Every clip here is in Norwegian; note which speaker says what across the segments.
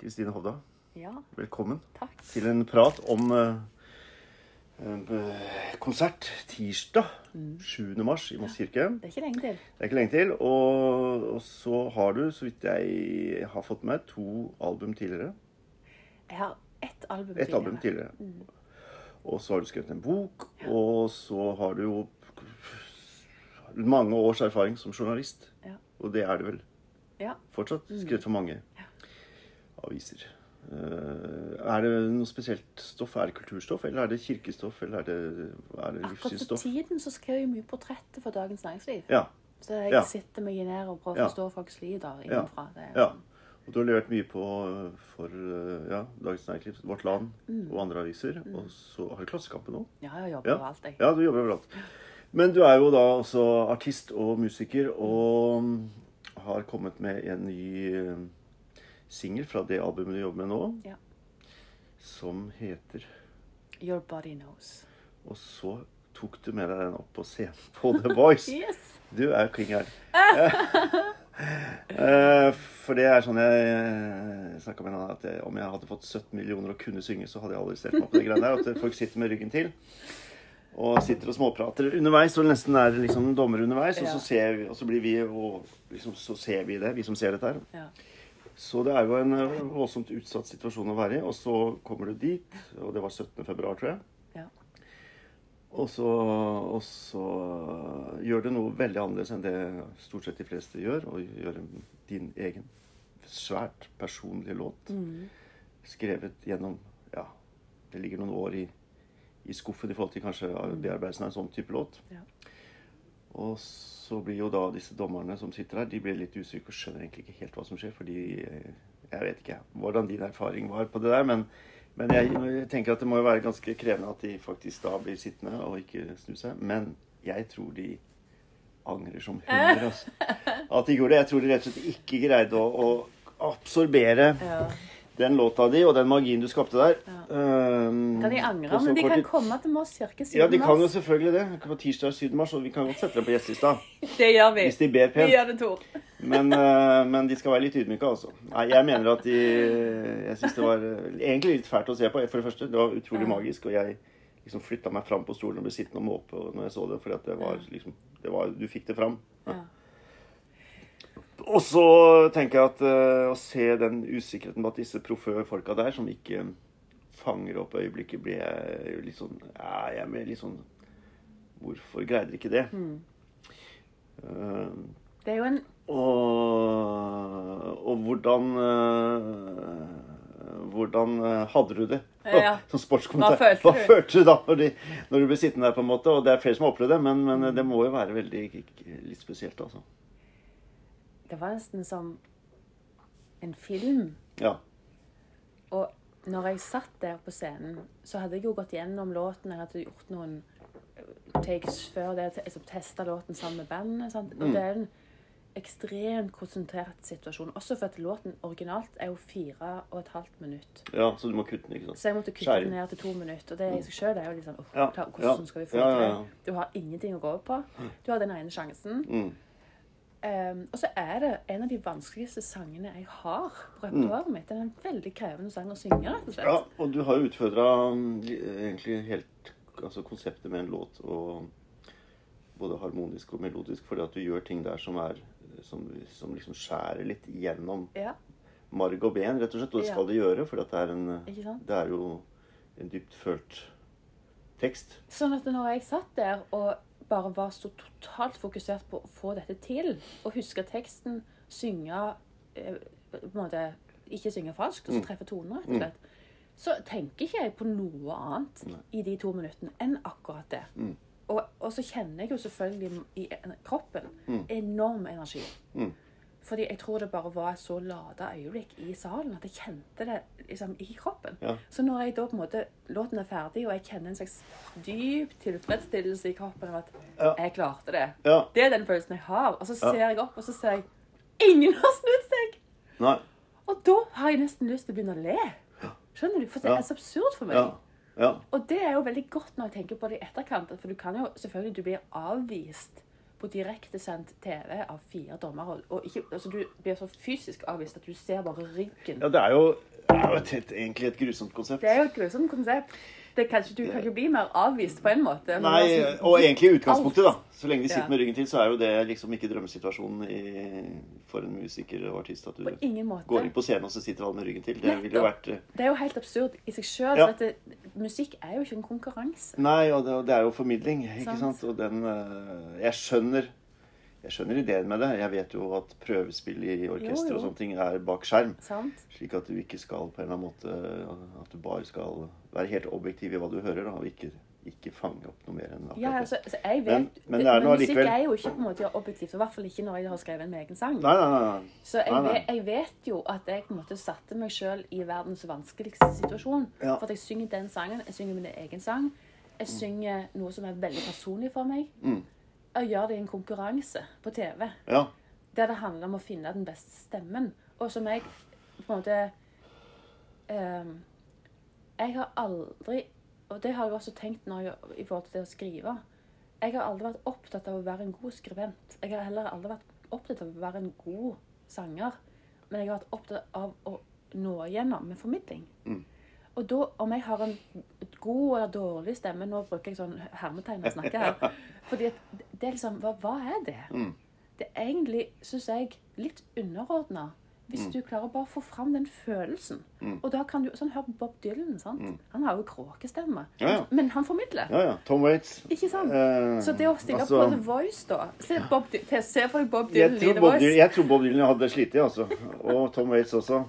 Speaker 1: Kristine Hovda,
Speaker 2: Ja,
Speaker 1: velkommen
Speaker 2: takk.
Speaker 1: til en prat om eh, en, eh, konsert tirsdag 7. mars i Moss kirke.
Speaker 2: Det er ikke lenge til.
Speaker 1: Det er ikke lenge til. Og, og så har du, så vidt jeg har fått med, to album tidligere.
Speaker 2: Jeg har ett album
Speaker 1: Ett album tidligere. Og så har du skrevet en bok, og så har du jo mange års erfaring som journalist.
Speaker 2: Ja.
Speaker 1: Og det er det vel
Speaker 2: Ja.
Speaker 1: fortsatt. Skrevet for mange aviser. Eh, er det noe spesielt stoff? Er det kulturstoff, eller er det kirkestoff, eller er det, er det
Speaker 2: Akkurat for
Speaker 1: livssynsstoff?
Speaker 2: tiden så skriver jeg mye portretter for Dagens Næringsliv.
Speaker 1: Ja.
Speaker 2: Så jeg
Speaker 1: Ja.
Speaker 2: sitter meg ned og prøver
Speaker 1: Ja.
Speaker 2: å forstå folks liv da,
Speaker 1: Ja.
Speaker 2: innenfra. Det er
Speaker 1: ja. Og du har levert mye på eh, for eh, ja, Dagens Næringsliv, Vårt Land og andre aviser. Og så har du Klassekampen òg.
Speaker 2: Ja, jeg jobber
Speaker 1: Mm. Ja.
Speaker 2: overalt, jeg.
Speaker 1: Ja, du jobber overalt. Men du er jo da også artist og musiker, og mm, har kommet med en ny eh, singel fra det albumet du jobber med nå,
Speaker 2: Ja.
Speaker 1: som heter
Speaker 2: Your body knows.
Speaker 1: Og så tok du med deg den opp på scenen på The Voice.
Speaker 2: Yes!
Speaker 1: Du er kling her. Eh, For det er sånn jeg snakka med en annen at jeg, om jeg hadde fått 17 millioner og kunne synge, så hadde jeg aldri stelt meg på de greiene der. At folk sitter med ryggen til og sitter og småprater underveis og nesten er liksom dommer underveis. Og
Speaker 2: Ja.
Speaker 1: så ser vi, og så blir vi og liksom, så ser vi det, vi som ser dette her.
Speaker 2: Ja.
Speaker 1: Så det er jo en eh, voldsomt utsatt situasjon å være i. Og så kommer du dit, og det var 17. februar, tror jeg.
Speaker 2: ja.
Speaker 1: Og så, og så gjør du noe veldig annerledes enn det stort sett de fleste gjør. Å gjøre din egen svært personlige låt. Skrevet gjennom Ja, det ligger noen år i, i skuffen i forhold til kanskje bearbeidelsen av en sånn type låt.
Speaker 2: Ja.
Speaker 1: Og så blir jo da disse dommerne som sitter her, de blir litt usikre og skjønner egentlig ikke helt hva som skjer. Fordi eh, jeg vet ikke hvordan din erfaring var på det der, men, men jeg, jeg tenker at det må jo være ganske krevende at de faktisk da blir sittende og ikke snu seg. Men jeg tror de angrer som hunder, altså. At de gjorde det. Jeg tror de rett og slett ikke greide å, å absorbere
Speaker 2: Ja.
Speaker 1: den låta di og den magien du skapte der. eh,
Speaker 2: Kan de angre?
Speaker 1: på så
Speaker 2: Men de
Speaker 1: kort
Speaker 2: kan
Speaker 1: tid.
Speaker 2: komme til Moss kirke siden
Speaker 1: Ja, de kan jo
Speaker 2: mars.
Speaker 1: selvfølgelig det. På tirsdag 7. mars, og vi kan godt sette dem på gjestelista.
Speaker 2: Det gjør vi.
Speaker 1: Hvis de ber
Speaker 2: Vi
Speaker 1: pent.
Speaker 2: gjør det, Tor.
Speaker 1: Men, eh, men de skal være litt ydmyke, altså. Nei, jeg mener at de Jeg syns det var eh, egentlig litt fælt å se på. For det første, det var utrolig magisk, og jeg liksom flytta meg fram på stolen og ble sittende og måpe når jeg så det, fordi at det var liksom det var, Du fikk det fram.
Speaker 2: Ja.
Speaker 1: Og så tenker jeg at eh, å se den usikkerheten blant disse proffe folka der, som ikke fanger opp øyeblikket, blir jeg jo litt sånn ja, Jeg blir litt sånn Hvorfor greide de ikke det?
Speaker 2: Mm.
Speaker 1: Eh,
Speaker 2: Det er jo en
Speaker 1: og, og hvordan eh, Hvordan eh, hadde du det
Speaker 2: Ja.
Speaker 1: som sportskommentar?
Speaker 2: Hva følte
Speaker 1: Hva
Speaker 2: du?
Speaker 1: følte du da når, de, når du ble sittende der? på en måte? Og det er flere som har opplevd det, men, men eh, det må jo være veldig litt spesielt, altså.
Speaker 2: Det var nesten som en film.
Speaker 1: Ja.
Speaker 2: Og når jeg satt der på scenen, så hadde jeg jo gått gjennom låten. Jeg hadde gjort noen eh, takes før det, te- altså testa låten sammen med bandet. Sant?
Speaker 1: Mm.
Speaker 2: Og det er en ekstremt konsentrert situasjon. Også for at låten originalt er jo fire og et halvt minutt.
Speaker 1: ja, så du må kutte den, ikke sant?
Speaker 2: Så jeg måtte kutte
Speaker 1: Skjære.
Speaker 2: den ned til to minutter. Og det i seg sjøl er jo litt sånn «Åh,
Speaker 1: Ja,
Speaker 2: klar,
Speaker 1: ja,
Speaker 2: Hvordan skal vi få
Speaker 1: ja,
Speaker 2: til
Speaker 1: ja, ja.
Speaker 2: det? Du har ingenting å gå på. Du har den ene sjansen. Ehm, og så er det en av de vanskeligste sangene jeg har på repertoaret mitt. Det er en veldig krevende sang å synge, rett og slett.
Speaker 1: Ja, og du har jo utfordra egentlig helt altså konseptet med en låt. og Både harmonisk og melodisk, fordi at du gjør ting der som, er, som, som liksom skjærer litt igjennom
Speaker 2: Ja,
Speaker 1: marg og ben, rett og slett. Og det
Speaker 2: Ja.
Speaker 1: skal de gjøre, for det er, en,
Speaker 2: Ikke sant?
Speaker 1: det er jo en dypt følt tekst.
Speaker 2: sånn at når jeg satt der og bare var så totalt fokusert på å få dette til, og huske teksten, synge eh, på en måte, Ikke synge falskt, og så treffe toner, rett og slett. Så tenker ikke jeg på noe annet i de to minuttene enn akkurat det.
Speaker 1: Mm.
Speaker 2: Og, og så kjenner jeg jo selvfølgelig i en- kroppen
Speaker 1: Mm.
Speaker 2: enorm energi. Fordi jeg tror det bare var et så lada øyeblikk i salen at jeg kjente det liksom, i kroppen.
Speaker 1: Ja.
Speaker 2: Så når jeg da på en måte, låten er ferdig, og jeg kjenner en slags dyp tilfredsstillelse i kroppen av at
Speaker 1: Ja.
Speaker 2: jeg klarte det
Speaker 1: Ja.
Speaker 2: Det er den følelsen jeg har. Og så
Speaker 1: Ja.
Speaker 2: ser jeg opp, og så ser jeg ingen har snudd seg!
Speaker 1: Nei.
Speaker 2: Og da har jeg nesten lyst til å begynne å le. Skjønner du? For det
Speaker 1: Ja.
Speaker 2: er så absurd for meg.
Speaker 1: Ja. ja.
Speaker 2: Og det er jo veldig godt når jeg tenker på det i etterkant. For du kan jo selvfølgelig du blir avvist på på direktesendt TV av fire dommere. Og ikke, altså, du blir så fysisk avvist at du ser bare ryggen.
Speaker 1: Ja, det er jo, det er jo et, et, egentlig et grusomt konsept.
Speaker 2: Det er jo et grusomt konsept. Det kan ikke, du kan ikke bli mer avvist på en måte. Men
Speaker 1: Nei,
Speaker 2: det er sånn-
Speaker 1: og egentlig i utgangspunktet, da.
Speaker 2: alt.
Speaker 1: Så lenge de sitter
Speaker 2: Ja.
Speaker 1: med ryggen til, så er jo det liksom ikke drømmesituasjonen i, for en musiker og artist at du
Speaker 2: På ingen måte.
Speaker 1: går inn på scenen og så sitter alle med ryggen til. Det ville jo
Speaker 2: Nettopp.
Speaker 1: vært eh,
Speaker 2: Det er jo helt absurd i seg sjøl.
Speaker 1: Ja.
Speaker 2: Musikk er jo ikke en konkurranse.
Speaker 1: Nei, og det, og det er jo formidling, ikke
Speaker 2: Sant.
Speaker 1: sant? Og den eh, Jeg skjønner jeg skjønner ideen med det. Jeg vet jo at prøvespill i orkester og
Speaker 2: jo.
Speaker 1: sånne ting er bak skjerm.
Speaker 2: Sant?
Speaker 1: Slik at du ikke skal på en eller annen måte At du bare skal være helt objektiv i hva du hører, da, og ikke, ikke fange opp noe mer enn akkurat
Speaker 2: Ja,
Speaker 1: det.
Speaker 2: altså, altså, jeg vet,
Speaker 1: Men- men det er nå
Speaker 2: musikk
Speaker 1: allikevel-
Speaker 2: er jo ikke på en måte objektivt, og i hvert fall ikke når jeg har skrevet en egen sang.
Speaker 1: Nei, nei, nei. nei.
Speaker 2: Så jeg,
Speaker 1: Nei, nei.
Speaker 2: Vet, jeg vet jo at jeg på en måte satte meg sjøl i verdens vanskeligste situasjon.
Speaker 1: Ja. Mm.
Speaker 2: For at jeg synger den sangen. Jeg synger min egen sang. Jeg synger noe som er veldig personlig for meg. Jeg gjør det i en konkurranse på TV
Speaker 1: Ja.
Speaker 2: der det handler om å finne den beste stemmen. Og som jeg på en måte ehm, Jeg har aldri Og det har jeg også tenkt når jeg, i forhold til det å skrive. Jeg har aldri vært opptatt av å være en god skribent. Jeg har heller aldri vært opptatt av å være en god sanger. Men jeg har vært opptatt av å nå igjennom med formidling.
Speaker 1: Mm.
Speaker 2: Og da, om jeg har en god eller dårlig stemme Nå bruker jeg sånn hermetegn når jeg snakker her. fordi at det er liksom Hva, hva er det?
Speaker 1: Mm.
Speaker 2: Det er egentlig, syns jeg, litt underordna.
Speaker 1: Mm.
Speaker 2: Hvis du klarer å bare få fram den følelsen. Og da kan du, sånn Hør på Bob Dylan. sant? Han har jo kråkestemme.
Speaker 1: Mm. Ja, ja.
Speaker 2: Men han formidler.
Speaker 1: ja, ja. Tom Waits.
Speaker 2: Ikke sant?
Speaker 1: Eh,
Speaker 2: Så det å stille
Speaker 1: altså,
Speaker 2: på The Voice, da Se, Bob, Dy- se for deg Bob
Speaker 1: jeg
Speaker 2: Dylan i
Speaker 1: tror,
Speaker 2: The
Speaker 1: Bob
Speaker 2: Voice.
Speaker 1: Dylan, jeg tror Bob Dylan hadde slitt, altså. Og Tom Waits også.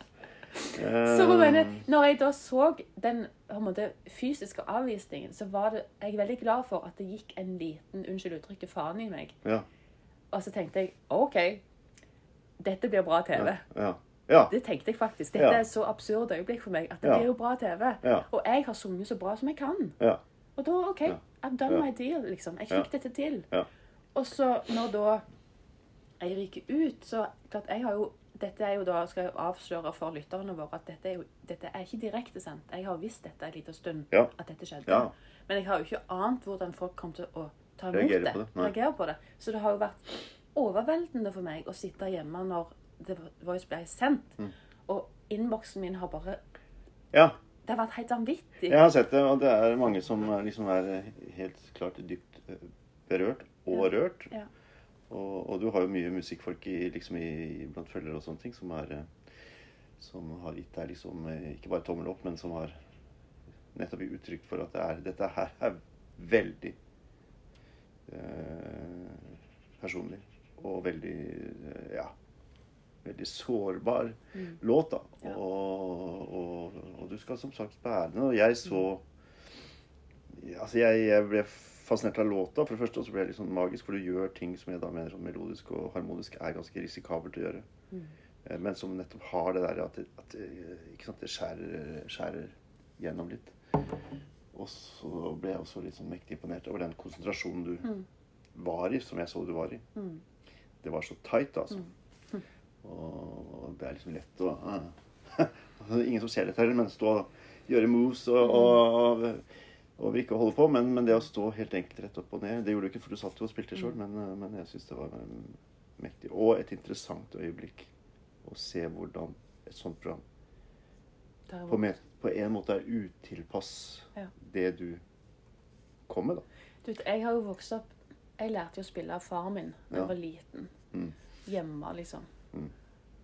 Speaker 2: Så
Speaker 1: Eh,
Speaker 2: må jeg mene, når jeg da så den på en måte, fysiske avvisningen, så var det, jeg er veldig glad for at det gikk en liten unnskyld uttrykket, faen i meg.
Speaker 1: ja,
Speaker 2: Og så tenkte jeg OK, dette blir bra TV.
Speaker 1: ja, ja.
Speaker 2: Det tenkte jeg faktisk. Dette
Speaker 1: Ja.
Speaker 2: er et så absurd øyeblikk for meg at det
Speaker 1: Ja.
Speaker 2: blir jo bra TV.
Speaker 1: Ja.
Speaker 2: Og jeg har sunget så bra som jeg kan.
Speaker 1: ja.
Speaker 2: Og da OK, I've done
Speaker 1: Ja.
Speaker 2: my deal, liksom. Jeg
Speaker 1: Ja.
Speaker 2: fikk dette til.
Speaker 1: Ja.
Speaker 2: Og så når da jeg ryker ut, så klart jeg har jo dette er jo da, skal jeg avsløre for lytterne våre at dette er jo dette er ikke direktesendt. Jeg har visst dette en liten stund,
Speaker 1: Ja.
Speaker 2: at dette skjedde.
Speaker 1: Ja.
Speaker 2: Men jeg har jo ikke ant hvordan folk kom til å ta imot
Speaker 1: Reagere
Speaker 2: det.
Speaker 1: på det, nei.
Speaker 2: reagere på det. Så det har jo vært overveldende for meg å sitte hjemme når The Voice ble sendt,
Speaker 1: Mm.
Speaker 2: og innboksen min har bare
Speaker 1: ja.
Speaker 2: Det har vært helt vanvittig.
Speaker 1: Jeg har sett det, og det er mange som er- liksom er helt klart dypt eh, berørt og rørt.
Speaker 2: Ja.
Speaker 1: Og, og du har jo mye musikkfolk i, liksom i, blant følgere og sånne ting som, er, eh, som har gitt deg liksom eh, ikke bare tommel opp, men som har nettopp gitt uttrykk for at det er, dette her er veldig eh, personlig og veldig eh, ja, veldig sårbar låt, da.
Speaker 2: Mm. Ja.
Speaker 1: Og, og, og du skal som sagt bære den. Og jeg så Altså, jeg, jeg ble fascinert av låta. For det første og så ble det litt sånn magisk, for du gjør ting som jeg da mener sånn melodisk og harmonisk er ganske risikabelt å gjøre. Eh, Men som nettopp har det der at, det- at det- ikke sant, det skjærer, skjærer gjennom litt. Og så ble jeg også litt sånn mektig imponert over den konsentrasjonen du var i, som jeg så du var i.
Speaker 2: Mm.
Speaker 1: Det var så tight, altså. Og det er liksom lett å eh, Ingen som ser dette heller, men stå og gjøre moves og, og, og, og ikke holde på. Men, men det å stå helt enkelt rett opp og ned Det gjorde du ikke, for du satt jo og spilte sjøl, men, eh, men jeg syns det var eh, mektig. Og et interessant øyeblikk å se hvordan et sånt program
Speaker 2: Der var-
Speaker 1: på, me- på en måte er utilpass
Speaker 2: Ja.
Speaker 1: det du kom med, da.
Speaker 2: Du vet, jeg har jo vokst opp Jeg lærte jo å spille av faren min
Speaker 1: Ja. Mm.
Speaker 2: da jeg var liten. Hjemme, liksom.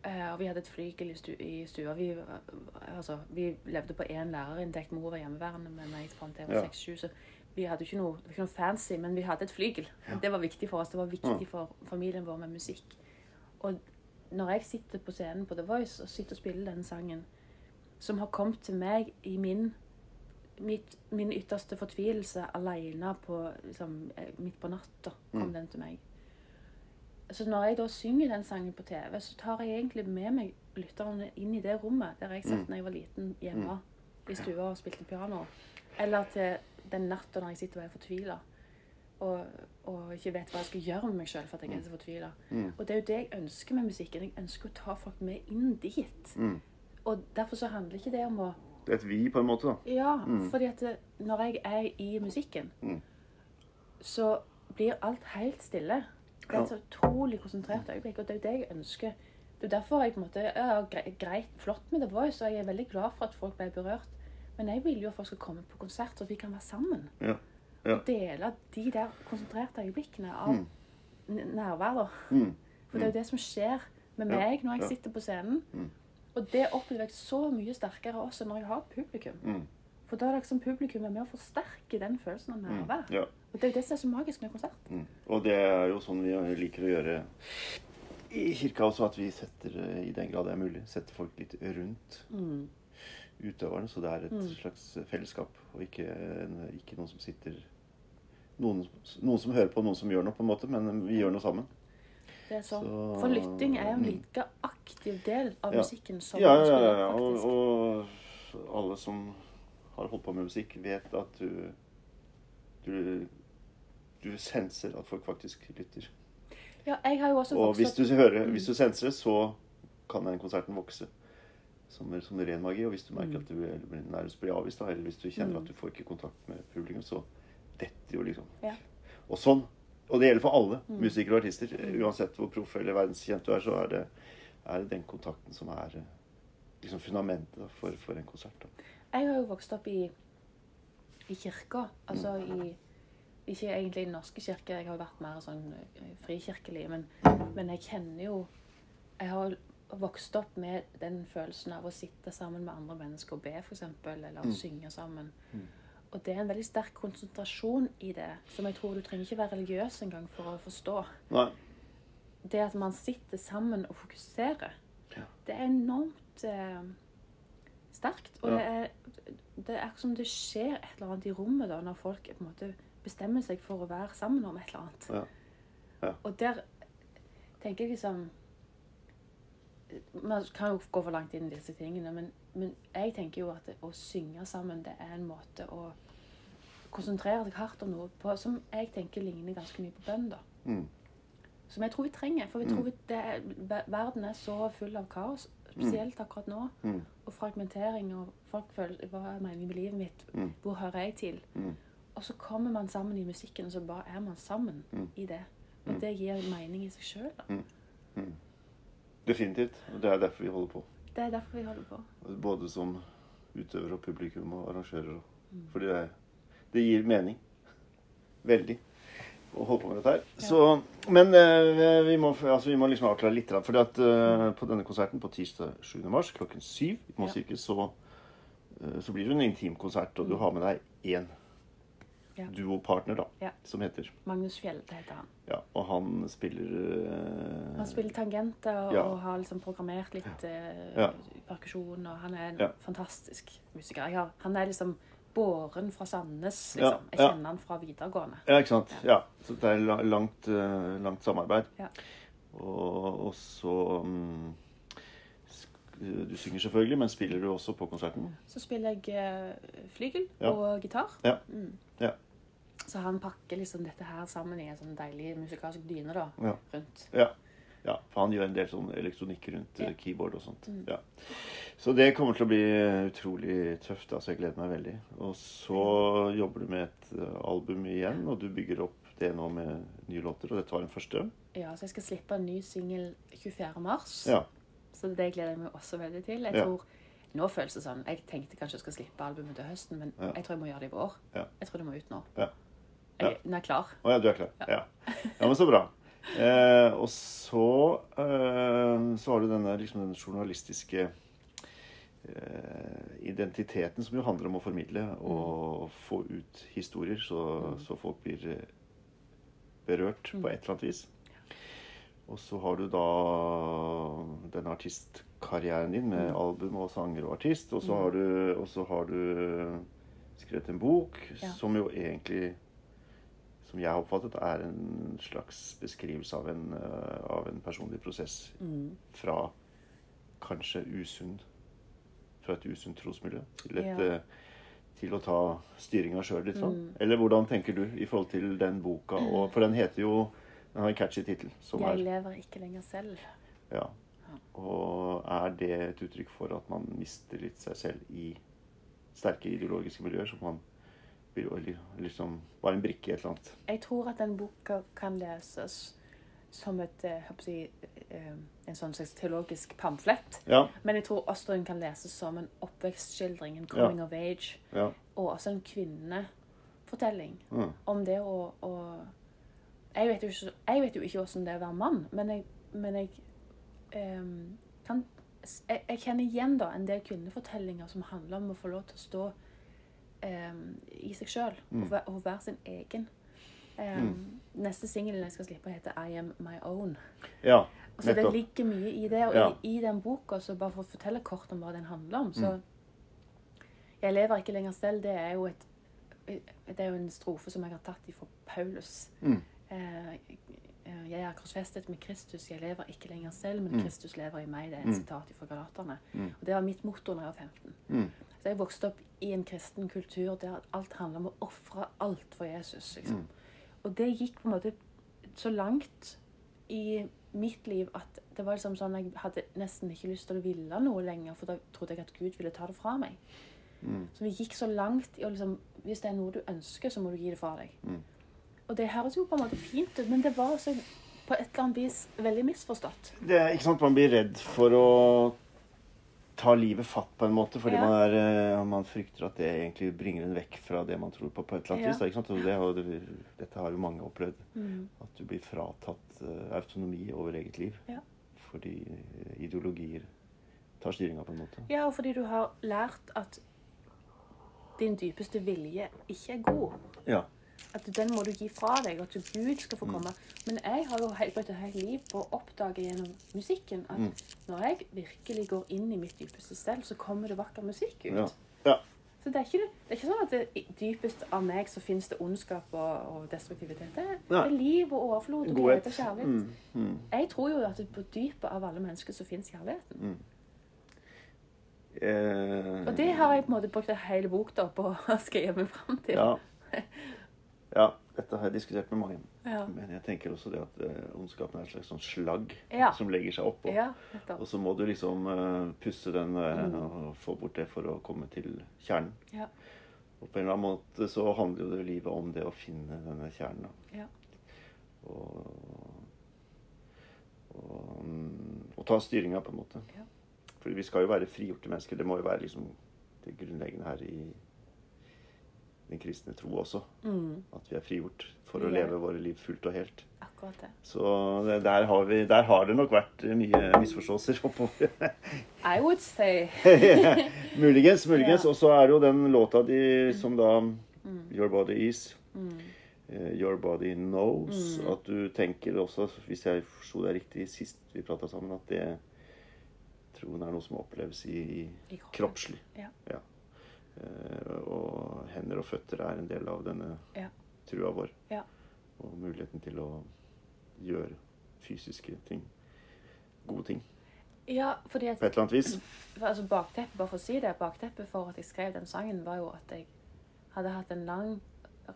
Speaker 2: Eh, og vi hadde et flygel i, stu, i stua. Vi, var- altså, vi levde på én lærerinntekt. Mor var hjemmeværende med meg fram til jeg
Speaker 1: Ja.
Speaker 2: var seks-sju. Så vi hadde jo ikke noe, det var ikke noe fancy, men vi hadde et flygel. Det var viktig for oss. Det var
Speaker 1: Mm.
Speaker 2: viktig for familien vår med musikk. Og når jeg sitter på scenen på The Voice og sitter og spiller den sangen, som har kommet til meg i min mitt, min ytterste fortvilelse alene på, liksom, eh, midt på natta kom den til meg. Så når jeg da synger den sangen på TV, så tar jeg egentlig med meg lytterne inn i det rommet der jeg satt da jeg var liten hjemme i stua og spilte piano. Eller til den natta når jeg sitter og er fortvila og, og ikke vet hva jeg skal gjøre med meg sjøl for at jeg er så fortvila. Og det er jo det jeg ønsker med musikken. Jeg ønsker å ta folk med inn dit. Og derfor så handler ikke det om å
Speaker 1: Mm. Det er et vi, på en måte, da.
Speaker 2: ja, fordi at eh, det-
Speaker 1: Mm.
Speaker 2: når jeg er i musikken, så blir alt helt stille. Det er et så utrolig konsentrert øyeblikk, og det er jo det jeg ønsker. Det er jo derfor jeg på en måte, ja, gre- greit, flott med The Voice, og jeg er veldig glad for at folk ble berørt. Men jeg vil jo at folk skal komme på konsert, så vi kan være sammen.
Speaker 1: Ja. Ja.
Speaker 2: Og dele de der konsentrerte øyeblikkene av
Speaker 1: Mm.
Speaker 2: n- nærvær. da.
Speaker 1: Mm.
Speaker 2: For det er jo det som skjer med
Speaker 1: Ja,
Speaker 2: meg når
Speaker 1: ja.
Speaker 2: jeg sitter på scenen.
Speaker 1: Mm.
Speaker 2: Og det opplever jeg så mye sterkere også når jeg har et publikum.
Speaker 1: Mm.
Speaker 2: For da er det liksom publikum er med å forsterke den følelsen av nærvær.
Speaker 1: Ja.
Speaker 2: Og det er jo det som er så magisk med konsert.
Speaker 1: Mm. Og det er jo sånn vi liker å gjøre i kirka også, at vi setter, eh, i den grad det er mulig, setter folk litt rundt utøverne. Så det er
Speaker 2: Mm.
Speaker 1: et slags fellesskap, og ikke, en, ikke noen som sitter noen, noen som hører på, noen som gjør noe, på en måte, men vi gjør noe sammen.
Speaker 2: Det er sånn.
Speaker 1: Så-
Speaker 2: For lytting er jo en
Speaker 1: Mm.
Speaker 2: like aktiv del av
Speaker 1: Ja.
Speaker 2: musikken som
Speaker 1: Ja, ja, ja.
Speaker 2: spiller,
Speaker 1: ja.
Speaker 2: faktisk.
Speaker 1: Og, og alle som har holdt på med musikk, vet at du Du, du senser at folk faktisk lytter.
Speaker 2: ja, jeg har jo også
Speaker 1: Og hvis
Speaker 2: vokst
Speaker 1: du,
Speaker 2: opp Mm.
Speaker 1: hører, hvis du senser det, så kan den konserten vokse som, som ren magi. Og hvis du
Speaker 2: Mm.
Speaker 1: merker at du er- blir- nærmest blir avvist, da, eller hvis du kjenner at du får ikke kontakt med publikum, så detter jo liksom.
Speaker 2: Ja. Mm.
Speaker 1: Og sånn. Og det gjelder for alle musikere og artister. Uansett hvor proff eller verdenskjent du er, så er det, er det den kontakten som er eh, liksom fundamentet da, for, for en konsert. Da.
Speaker 2: Jeg har jo vokst opp i, i kirka. Altså
Speaker 1: Mm.
Speaker 2: i Ikke egentlig i den norske kirke, jeg har jo vært mer sånn eh, frikirkelig, men, men jeg kjenner jo Jeg har vokst opp med den følelsen av å sitte sammen med andre mennesker og be, f.eks., eller
Speaker 1: Mm.
Speaker 2: synge sammen. Og det er en veldig sterk konsentrasjon i det, som jeg tror du trenger ikke være religiøs engang for å forstå.
Speaker 1: Nei.
Speaker 2: Det at man sitter sammen og fokuserer,
Speaker 1: Ja.
Speaker 2: det er enormt eh, sterkt. Og
Speaker 1: Ja.
Speaker 2: det, er, det er akkurat som det skjer et eller annet i rommet da, når folk på en måte bestemmer seg for å være sammen om et eller annet.
Speaker 1: Ja. Ja.
Speaker 2: Og der tenker jeg liksom Man kan jo gå for langt inn i disse tingene, men, men jeg tenker jo at det, å synge sammen, det er en måte å konsentrere deg hardt om noe på, som jeg tenker ligner ganske mye på bønn. da.
Speaker 1: Mm.
Speaker 2: Som jeg tror vi trenger. For vi tror vi- det er, ver- verden er så full av kaos, spesielt akkurat nå.
Speaker 1: Mm.
Speaker 2: Og fragmentering, og folk føler Hva er meningen med livet mitt?
Speaker 1: Mm.
Speaker 2: Hvor hører jeg til?
Speaker 1: Mm.
Speaker 2: Og så kommer man sammen i musikken, og så bare er man sammen
Speaker 1: Mm.
Speaker 2: i det. Og det gir mening i seg sjøl.
Speaker 1: Definitivt. Og det er derfor vi holder på.
Speaker 2: Det er derfor vi holder på.
Speaker 1: Både som utøver og publikum og arrangører. og-
Speaker 2: Mm.
Speaker 1: Fordi det, det gir mening. Veldig. Å holde på med dette her. Så, men eh, vi, må, altså, vi må liksom avklare litt. For eh, på denne konserten på tirsdag 7. mars klokken 7 i Moss
Speaker 2: Ja.
Speaker 1: kirke, så, eh, så blir det en intimkonsert. Og du har med deg én
Speaker 2: Mm. Ja.
Speaker 1: duopartner, da,
Speaker 2: Ja.
Speaker 1: som heter.
Speaker 2: Magnus Fjelde heter han.
Speaker 1: Ja, og han spiller eh,
Speaker 2: Han spiller tangenter og,
Speaker 1: Ja.
Speaker 2: og har liksom programmert litt eh,
Speaker 1: Ja.
Speaker 2: perkusjon. Og han er en
Speaker 1: Ja.
Speaker 2: fantastisk musiker. Jeg har, han er liksom båren fra Sandnes,
Speaker 1: Ja,
Speaker 2: liksom. Jeg
Speaker 1: ja.
Speaker 2: kjenner han fra videregående.
Speaker 1: Ja, ikke sant. Ja. Så det er la- langt, eh, langt samarbeid.
Speaker 2: Ja.
Speaker 1: Og, og så mm, sk- Du synger selvfølgelig, men spiller du også på konserten?
Speaker 2: Så spiller jeg eh, flygel
Speaker 1: Ja.
Speaker 2: og gitar.
Speaker 1: Ja.
Speaker 2: Mm.
Speaker 1: Ja.
Speaker 2: Så han pakker liksom dette her sammen i en sånn deilig musikalsk dyne da,
Speaker 1: Ja.
Speaker 2: rundt.
Speaker 1: Ja. ja. For han gjør en del sånn elektronikk rundt eh,
Speaker 2: Ja.
Speaker 1: keyboard og sånt. Ja. Så det kommer til å bli eh, utrolig tøft. Altså, jeg gleder meg veldig. Og så jobber du med et eh, album igjen, og du bygger opp det nå med nye låter. Og dette var den første.
Speaker 2: Ja, så jeg skal slippe en ny singel 24. mars.
Speaker 1: Ja.
Speaker 2: Så det gleder jeg meg også veldig til. Jeg
Speaker 1: Ja.
Speaker 2: tror, Nå føles det sånn. Jeg tenkte kanskje jeg skal slippe albumet til høsten, men
Speaker 1: Ja.
Speaker 2: jeg tror jeg må gjøre det i vår.
Speaker 1: Ja.
Speaker 2: Jeg tror det må ut nå.
Speaker 1: Ja.
Speaker 2: Jeg, den er klar.
Speaker 1: Å ja, du er klar. Ja, ja men så bra. Eh, og så, eh, så har du denne, liksom, denne journalistiske eh, identiteten som jo handler om å formidle og få ut historier, så, så folk blir eh, berørt på et eller annet vis. Og så har du da denne artistkarrieren din med album og sanger og artist. Og så har du, og så har du eh, skrevet en bok
Speaker 2: Ja.
Speaker 1: som jo egentlig som jeg har oppfattet, er en slags beskrivelse av en, eh, av en personlig prosess
Speaker 2: Mm.
Speaker 1: fra kanskje usunn Fra et usunt trosmiljø til, et,
Speaker 2: Ja. Mm.
Speaker 1: eh, til å ta styringa sjøl litt sånn. Eller hvordan tenker du i forhold til den boka? Og, for den heter jo Den har en catchy tittel. som
Speaker 2: Jeg
Speaker 1: er
Speaker 2: lever ikke lenger selv.
Speaker 1: ja. Og er det et uttrykk for at man mister litt seg selv i sterke ideologiske miljøer? Som man blir jo li- liksom bare en brikke i et eller annet.
Speaker 2: Jeg tror at den boka kan leses som et, eh, håper jeg, eh, en sånn slags teologisk pamflett.
Speaker 1: Ja.
Speaker 2: Men jeg tror også den kan leses som en oppvekstskildring, en coming of age,
Speaker 1: ja.
Speaker 2: og også en kvinnefortelling
Speaker 1: Mm.
Speaker 2: om det å, å jeg, vet jo ikke, jeg vet jo ikke hvordan det er å være mann, men jeg, men jeg ehm, kan jeg, jeg kjenner igjen da en del kvinnefortellinger som handler om å få lov til å stå ehm, i seg sjøl og, væ- og være sin egen. Ehm, Neste singel jeg skal slippe, heter 'I Am My Own'.
Speaker 1: ja.
Speaker 2: Og så Altså, det
Speaker 1: Nettopp.
Speaker 2: ligger mye i det. Og
Speaker 1: Ja.
Speaker 2: i, i den boka, så bare for å fortelle kort om hva den handler om, så
Speaker 1: Mm.
Speaker 2: Jeg lever ikke lenger selv. Det er jo et det er jo en strofe som jeg har tatt ifra Paulus.
Speaker 1: Mm,
Speaker 2: Eh, eh, jeg er korsfestet med Kristus, jeg lever ikke lenger selv,
Speaker 1: Mm.
Speaker 2: men Kristus lever i meg. Det er et sitat fra Galaterne. Og det var mitt motto da jeg var 15.
Speaker 1: mm.
Speaker 2: Så jeg vokste opp i en kristen kultur der alt handler om å ofre alt for Jesus. Liksom. Og det gikk på en måte så langt i mitt liv at det var liksom sånn jeg hadde nesten ikke lyst til å ville noe lenger, for da trodde jeg at Gud ville ta det fra meg. Så vi gikk så langt i å liksom Hvis det er noe du ønsker, så må du gi det fra deg. Og det høres jo på en måte fint ut, men det var også på et eller annet vis veldig misforstått.
Speaker 1: Det er ikke sant, Man blir redd for å ta livet fatt på en måte, fordi
Speaker 2: Ja.
Speaker 1: man, er, eh, man frykter at det egentlig bringer en vekk fra det man tror på. på et eller annet
Speaker 2: Ja. Mm.
Speaker 1: vis. da, Ikke sant? Og det, har jo- dette har jo mange opplevd. At du blir fratatt eh, autonomi over eget liv
Speaker 2: Ja.
Speaker 1: fordi eh, ideologier tar styringa på en måte.
Speaker 2: Ja, og fordi du har lært at din dypeste vilje ikke er god.
Speaker 1: Ja.
Speaker 2: At den må du gi fra deg, og at Gud skal
Speaker 1: Mm.
Speaker 2: få komme. Men jeg har jo helt, brukt et helt liv på å oppdage gjennom musikken at
Speaker 1: Mm.
Speaker 2: når jeg virkelig går inn i mitt dypeste selv, så kommer det vakker musikk ut.
Speaker 1: Ja. ja.
Speaker 2: Så det er, ikke, det er ikke sånn at det, dypest av meg så finnes det ondskap og, og destruktivitet. Det, er- det
Speaker 1: Nei.
Speaker 2: er liv og overflod og
Speaker 1: Godhet. Mm.
Speaker 2: glede og kjærlighet. Jeg tror jo at på dypet av alle mennesker så finnes kjærligheten.
Speaker 1: Mm. Eh,
Speaker 2: Og det har jeg på en måte brukt en hel bok da på å skrive meg fram til.
Speaker 1: ja. ja. Dette har jeg diskutert med mange.
Speaker 2: Ja.
Speaker 1: Men jeg tenker også det at eh, ondskapen er et slags sånn slagg
Speaker 2: Ja.
Speaker 1: som legger seg oppå.
Speaker 2: Ja, Mm. nettopp.
Speaker 1: Og så må du liksom eh, pusse den eh, og få bort det for å komme til kjernen.
Speaker 2: Ja,
Speaker 1: Og på en eller annen måte så handler jo det livet om det å finne denne kjernen. da.
Speaker 2: ja,
Speaker 1: Og, og, mm, og ta styringa, på en måte.
Speaker 2: ja.
Speaker 1: For vi skal jo være frigjorte mennesker. Det må jo være liksom det grunnleggende her i den kristne tro også. At vi er frigjort for å
Speaker 2: Vi er-
Speaker 1: leve våre liv fullt og helt.
Speaker 2: Akkurat det.
Speaker 1: Så det- der har, vi, der har det nok vært mye misforståelser oppover.
Speaker 2: I would say
Speaker 1: muligens, muligens.
Speaker 2: Ja. Mm.
Speaker 1: Og så er det jo den låta de som da Your Body Is. eh, Your Body Knows.
Speaker 2: Mm.
Speaker 1: At du tenker også, hvis jeg forsto deg riktig sist vi prata sammen, at det troen er noe som oppleves i,
Speaker 2: I
Speaker 1: i
Speaker 2: kroppen.
Speaker 1: kroppslig.
Speaker 2: Ja,
Speaker 1: Ja. Eh, Og hender og føtter er en del av denne
Speaker 2: ja,
Speaker 1: trua vår.
Speaker 2: ja.
Speaker 1: Og muligheten til å gjøre fysiske ting. Gode ting,
Speaker 2: Ja, fordi at
Speaker 1: på et eller annet vis.
Speaker 2: For, altså bakteppet, bare for å si det, bakteppet for at jeg skrev den sangen, var jo at jeg hadde hatt en lang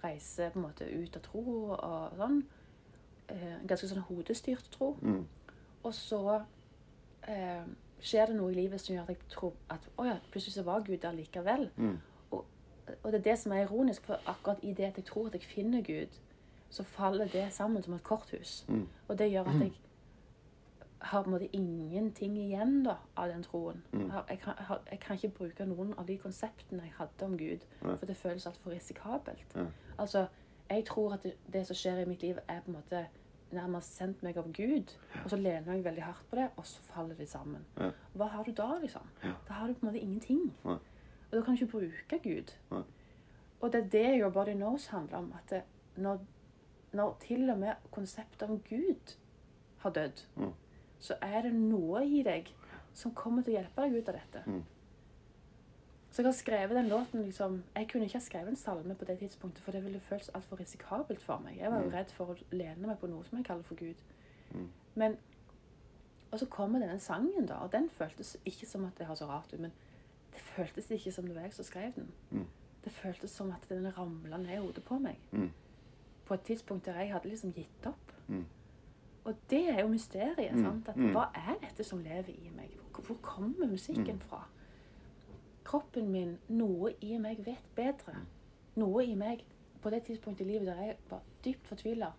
Speaker 2: reise på en måte ut av tro og sånn. Eh, en ganske sånn hodestyrt tro.
Speaker 1: Mm,
Speaker 2: Og så eh, skjer det noe i livet som gjør at jeg tror at å ja, plutselig så var Gud der likevel.
Speaker 1: mm,
Speaker 2: Og, og det er det som er ironisk, for akkurat i det at jeg tror at jeg finner Gud, så faller det sammen som et korthus.
Speaker 1: mm.
Speaker 2: Og det gjør at jeg har på en måte ingenting igjen da, av den troen. Jeg, har, jeg, kan, har, jeg kan ikke bruke noen av de konseptene jeg hadde om Gud, for det føles altfor risikabelt. Altså, jeg tror at det, det som skjer i mitt liv, er på en måte nærmest sendt meg av Gud, og så lener jeg veldig hardt på det, og så faller det sammen. Hva har du da, liksom? Da har du på en måte ingenting.
Speaker 1: Nei.
Speaker 2: Og da kan du ikke bruke Gud.
Speaker 1: Nei.
Speaker 2: Og det er det Your Body Knows handler om, at det, når, når til og med konseptet om Gud har dødd, så er det noe i deg som kommer til å hjelpe deg ut av dette.
Speaker 1: Mm,
Speaker 2: Så jeg har skrevet den låten liksom, Jeg kunne ikke ha skrevet en salme på det tidspunktet, for det ville føltes altfor risikabelt for meg. Jeg var jo redd for å lene meg på noe som jeg kaller for Gud.
Speaker 1: mm,
Speaker 2: Men, Og så kommer denne sangen, da, og den føltes ikke som at det har så rart ut, men det føltes ikke som det var jeg som skrev den.
Speaker 1: mm,
Speaker 2: Det føltes som at den ramla ned i hodet på meg.
Speaker 1: mm,
Speaker 2: På et tidspunkt der jeg hadde liksom gitt opp. Og det er jo mysteriet. sant? At, Hva er dette som lever i meg? Hvor, hvor kommer musikken fra? Kroppen min, noe i meg, vet bedre. Noe i meg på det tidspunktet i livet der jeg var dypt fortvila,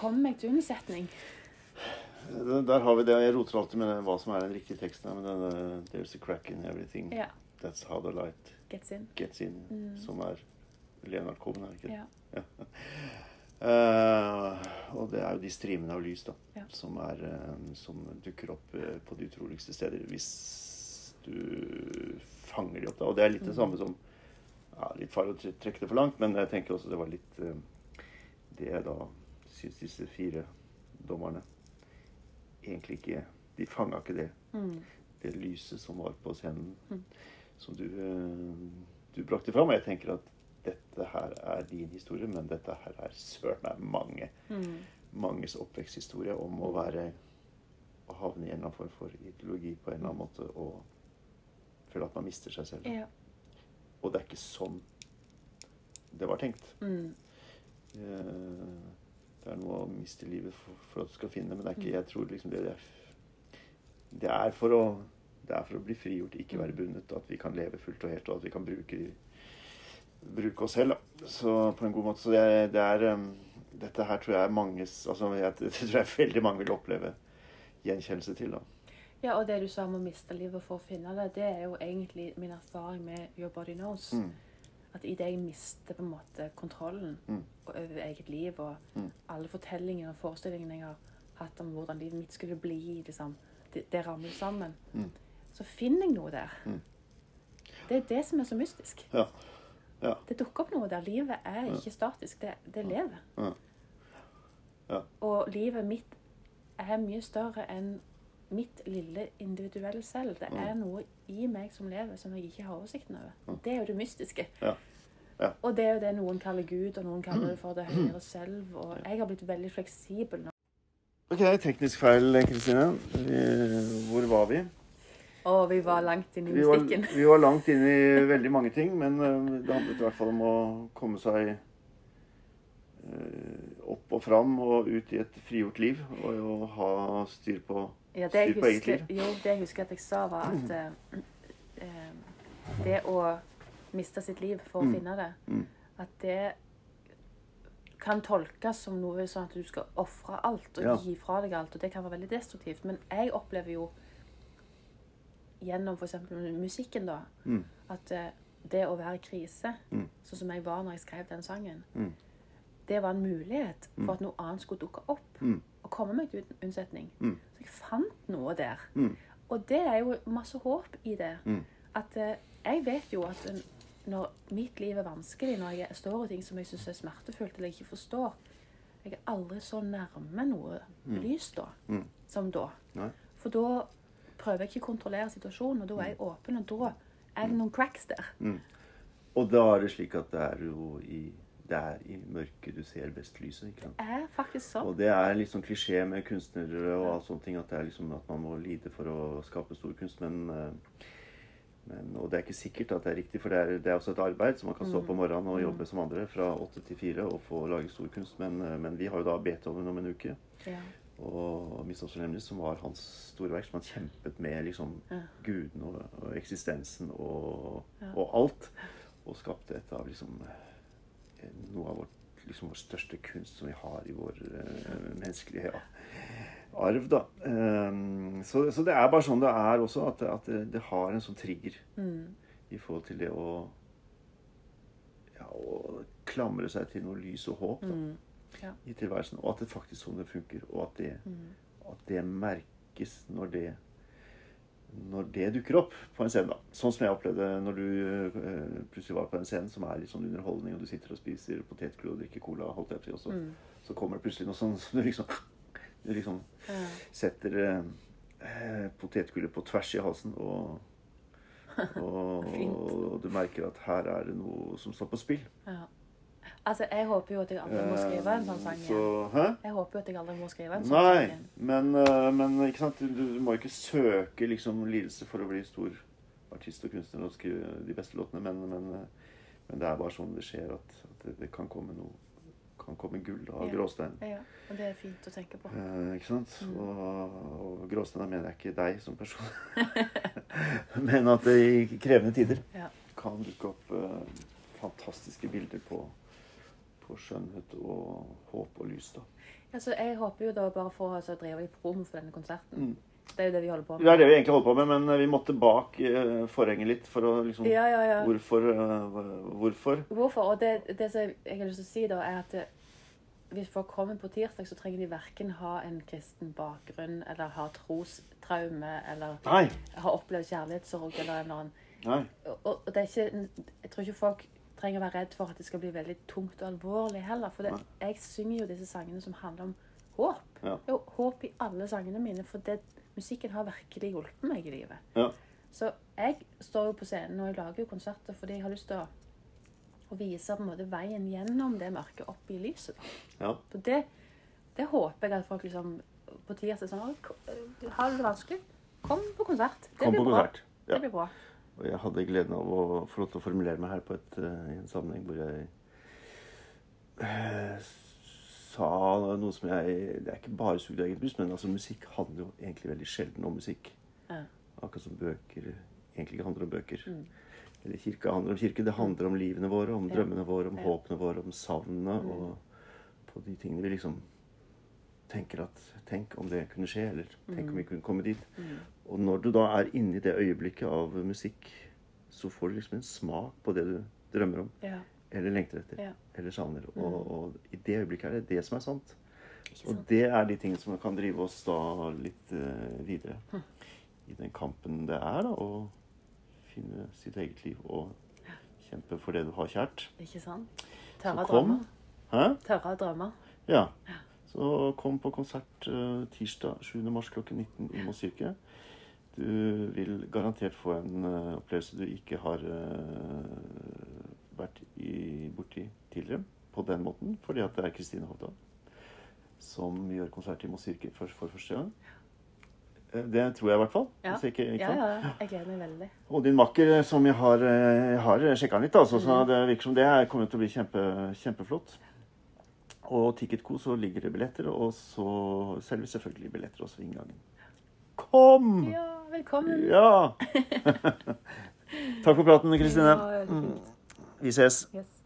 Speaker 2: Kom meg til unnsetning.
Speaker 1: Det- Eh, Der har vi det. og Jeg roter alltid med det- hva som er den riktige teksten. her, Men denne There's a crack in everything.
Speaker 2: Ja.
Speaker 1: That's how the light
Speaker 2: Gets in.
Speaker 1: gets in. Som er Leonard Cohen, er det ikke det?
Speaker 2: Ja.
Speaker 1: Eh, og det er jo de strimene av lys da,
Speaker 2: Ja.
Speaker 1: som, er, eh, som dukker opp eh, på de utroligste steder hvis du fanger de opp. da. Og det er litt det samme som ja, Litt fare å tre- trekke det for langt, men jeg tenker også det var litt eh, det jeg da syns disse fire dommerne egentlig ikke De fanga ikke det,
Speaker 2: Mm.
Speaker 1: det lyset som var på scenen, som du, eh, du brakte fram. Og jeg tenker at dette her er din historie, men dette her er søren meg mange.
Speaker 2: Mm.
Speaker 1: Manges oppveksthistorie om å være Å havne i en eller annen form for ideologi på en eller annen måte og føle at man mister seg selv.
Speaker 2: Ja.
Speaker 1: Og det er ikke sånn det var tenkt.
Speaker 2: Mm.
Speaker 1: Eh, Det er noe å miste livet for, for at du skal finne, men det er ikke, jeg tror liksom det, det, er, det er for å det er for å bli frigjort, ikke være bundet, at vi kan leve fullt og helt, og at vi kan bruke, bruke oss selv da. så, på en god måte. Så det, er- det er em, Dette her tror jeg manges altså, jeg, Det tror jeg veldig mange vil oppleve gjenkjennelse til. da.
Speaker 2: ja, og det du sa om å miste livet for å finne det, det er jo egentlig min erfaring med Your Body Knows.
Speaker 1: Mm.
Speaker 2: At idet jeg mister på en måte kontrollen
Speaker 1: Mm.
Speaker 2: over eget liv og alle fortellingene og forestillingene jeg har hatt om hvordan livet mitt skulle bli, liksom, det, det ramler sammen,
Speaker 1: Mm.
Speaker 2: så finner jeg noe der.
Speaker 1: Mm.
Speaker 2: Det er det som er så mystisk.
Speaker 1: Ja. Ja.
Speaker 2: Det dukker opp noe der. Livet er ikke statisk. Det, det lever.
Speaker 1: Ja. Ja.
Speaker 2: Og livet mitt er mye større enn mitt lille individuelle selv. Det er
Speaker 1: Mm.
Speaker 2: noe i meg som lever, som jeg ikke har oversikten over. Det er jo det mystiske.
Speaker 1: Ja. Ja. Mm.
Speaker 2: Og det er jo det noen kaller Gud, og noen kaller det for det høyere selv. Og jeg har blitt veldig fleksibel nå.
Speaker 1: Ok, teknisk feil, Kristine. Vi- Hvor var vi?
Speaker 2: Og vi var langt inne i
Speaker 1: Vi var,
Speaker 2: mystikken.
Speaker 1: vi var langt inne i veldig mange ting, men eh, det handlet i hvert fall om å komme seg eh, opp og fram og ut i et frigjort liv. Og å ha styr på
Speaker 2: Ja, det jeg
Speaker 1: styr på eget
Speaker 2: husker, jo, det jeg husker at jeg sa, var at eh, eh, det å miste sitt liv for
Speaker 1: Mm.
Speaker 2: å finne det, at det kan tolkes som noe sånn at du skal ofre alt og
Speaker 1: Ja.
Speaker 2: gi fra deg alt, og det kan være veldig destruktivt. Men jeg opplever jo gjennom f.eks. musikken, da, at eh, det å være i krise, sånn som jeg var når jeg skrev den sangen, det var en mulighet for at noe annet skulle dukke opp. Og komme meg til un- unnsetning. Så jeg fant noe der. Og det er jo masse håp i det. At eh, jeg vet jo at eh, når mitt liv er vanskelig, når jeg står i ting som jeg syns er smertefullt eller jeg ikke forstår Jeg er aldri så nærme noe lys da som da.
Speaker 1: Nei.
Speaker 2: For da prøver jeg ikke å kontrollere situasjonen, og da er jeg åpen, og da er det noen cracks der.
Speaker 1: Og da er det slik at det er jo i, det er i mørket du ser best lyset. ikke sant?
Speaker 2: Det er faktisk sånn.
Speaker 1: Og det er litt sånn klisjé med kunstnere og alt sånne ting, at det er liksom at man må lide for å skape stor kunst, men, eh, men Og det er ikke sikkert at det er riktig, for det er, det er også et arbeid, så man kan stå opp om morgenen og jobbe som andre fra åtte til fire og få lage stor kunst, men, eh, men vi har jo da Beethoven om en uke.
Speaker 2: Ja.
Speaker 1: Og 'Miss Oss Lemnes', som var hans store verk, som han kjempet med liksom
Speaker 2: Ja.
Speaker 1: gudene og, og eksistensen og, og alt. Og skapte et av liksom eh, noe av vårt, liksom vår største kunst som vi har i vår eh, menneskelige ja, arv, da. Ehm, så, så det er bare sånn det er også, at, det- at det, det har en sånn trigger
Speaker 2: Mm.
Speaker 1: i forhold til det å ja, å klamre seg til noe lys og håp. Da
Speaker 2: Mm. Ja. Mm.
Speaker 1: i tilværelsen, og at det faktisk sånn det funker, og at det, at det merkes når det når det dukker opp på en scene, da. Sånn som jeg opplevde når du eh, plutselig var på en scene som er litt sånn underholdning, og du sitter og spiser potetgull og drikker cola, holdt jeg på å si, og så,
Speaker 2: Mm.
Speaker 1: så kommer det plutselig noe sånn som du liksom, du liksom setter eh, eh, potetgullet på tvers i halsen, og, og,
Speaker 2: Fint.
Speaker 1: og du merker at her er det noe som står på spill.
Speaker 2: Ja. Altså, jeg håper jo at jeg aldri må skrive en sånn sang
Speaker 1: Eh,
Speaker 2: igjen.
Speaker 1: Så, hæ?
Speaker 2: Jeg håper jo at jeg aldri må skrive en sånn sang
Speaker 1: Nei,
Speaker 2: igjen.
Speaker 1: men, eh, men ikke sant? Du, du må jo ikke søke liksom, lidelse for å bli stor artist og kunstner og skrive de beste låtene, men, men, eh, men det er bare sånn det skjer at, at det, det kan komme noe kan komme gull av
Speaker 2: Ja.
Speaker 1: gråstein.
Speaker 2: Ja, og det er fint å tenke på.
Speaker 1: Eh, ikke sant? Og, og gråstein, da mener jeg ikke deg som person, men at det i krevende tider
Speaker 2: Ja.
Speaker 1: kan dukke opp eh, fantastiske bilder på, for skjønnhet og håp og lys, da.
Speaker 2: Altså, jeg håper jo da bare for å altså, drive litt promo for denne
Speaker 1: Mm.
Speaker 2: konserten. Det er jo det vi holder på
Speaker 1: Det
Speaker 2: med.
Speaker 1: er det vi egentlig holdt på med, men vi måtte bak eh, forhenget litt for å liksom
Speaker 2: Ja, ja, ja.
Speaker 1: Hvorfor? eh, hvorfor?
Speaker 2: Hvorfor? Og det, det som jeg har lyst til å si, da, er at eh, hvis folk kommer på tirsdag, så trenger de verken ha en kristen bakgrunn eller ha trostraume eller
Speaker 1: Nei.
Speaker 2: ha opplevd kjærlighetssorg eller en eller annen
Speaker 1: Nei.
Speaker 2: og, og det er ikke, jeg tror ikke folk trenger å være redd for at det skal bli veldig tungt og alvorlig heller. For det, jeg synger jo disse sangene som handler om håp.
Speaker 1: Ja.
Speaker 2: Det er jo håp i alle sangene mine, for det, musikken har virkelig hjulpet meg i livet.
Speaker 1: Ja.
Speaker 2: Så jeg står jo på scenen og jeg lager jo konserter fordi jeg har lyst til å, å vise på en måte veien gjennom det mørket opp i lyset. da.
Speaker 1: ja.
Speaker 2: For det, det håper jeg at folk liksom på tirsdag sånn, «Å, k- Har du det vanskelig? Kom på konsert. Det
Speaker 1: Kom
Speaker 2: blir
Speaker 1: på
Speaker 2: bra.
Speaker 1: konsert. Ja.
Speaker 2: Det blir bra.
Speaker 1: Og jeg hadde gleden av å få lov til å formulere meg her på et, eh, i en sammenheng hvor jeg eh, sa noe som jeg Det er ikke bare sugd av eget bryst, men altså, musikk handler jo egentlig veldig sjelden om musikk.
Speaker 2: Ja.
Speaker 1: Akkurat som bøker egentlig ikke handler om bøker. Eller kirke handler om kirke. Det handler om livene våre, om drømmene våre, om håpene våre, om savnene og på de tingene vi liksom tenker at Tenk om det kunne skje, eller tenk om vi kunne komme dit. Og når du da er inni det øyeblikket av musikk, så får du liksom en smak på det du drømmer om,
Speaker 2: ja.
Speaker 1: eller lengter etter,
Speaker 2: Ja. Mm.
Speaker 1: eller savner. Og, og i det øyeblikket er det det som er sant.
Speaker 2: Ikke
Speaker 1: Og det er de tingene som kan drive oss da litt eh, videre
Speaker 2: Hm.
Speaker 1: i den kampen det er da, å finne sitt eget liv og kjempe for det du har kjært.
Speaker 2: Ikke sant?
Speaker 1: Så
Speaker 2: Tørre
Speaker 1: kom.
Speaker 2: drømmer.
Speaker 1: Hæ?
Speaker 2: Tørre drømmer.
Speaker 1: Ja. Så kom på konsert eh, tirsdag 7. mars klokken 19 i Moss kirke. Du vil garantert få en eh, opplevelse du ikke har eh, vært i, borti tidligere på den måten, fordi at det er Kristine Hovda som gjør konsert i Moss kirke for, for første gang. Eh, Det tror jeg i hvert fall.
Speaker 2: Ja.
Speaker 1: Hvis jeg ikke, ikke
Speaker 2: ja,
Speaker 1: sant?
Speaker 2: ja, ja. Jeg gleder meg veldig.
Speaker 1: Og din makker, som jeg har, eh, jeg har sjekka han litt, altså,
Speaker 2: Mm.
Speaker 1: så det virker som det er- kommer til å bli kjempe, kjempeflott. Og Ticketco så ligger det billetter, og så selger vi selvfølgelig billetter også ved inngangen. Kom!
Speaker 2: Ja, velkommen.
Speaker 1: Ja! Takk for praten, Kristine. Mm.
Speaker 2: Ja, veldig fint.
Speaker 1: Vi ses.
Speaker 2: Yes.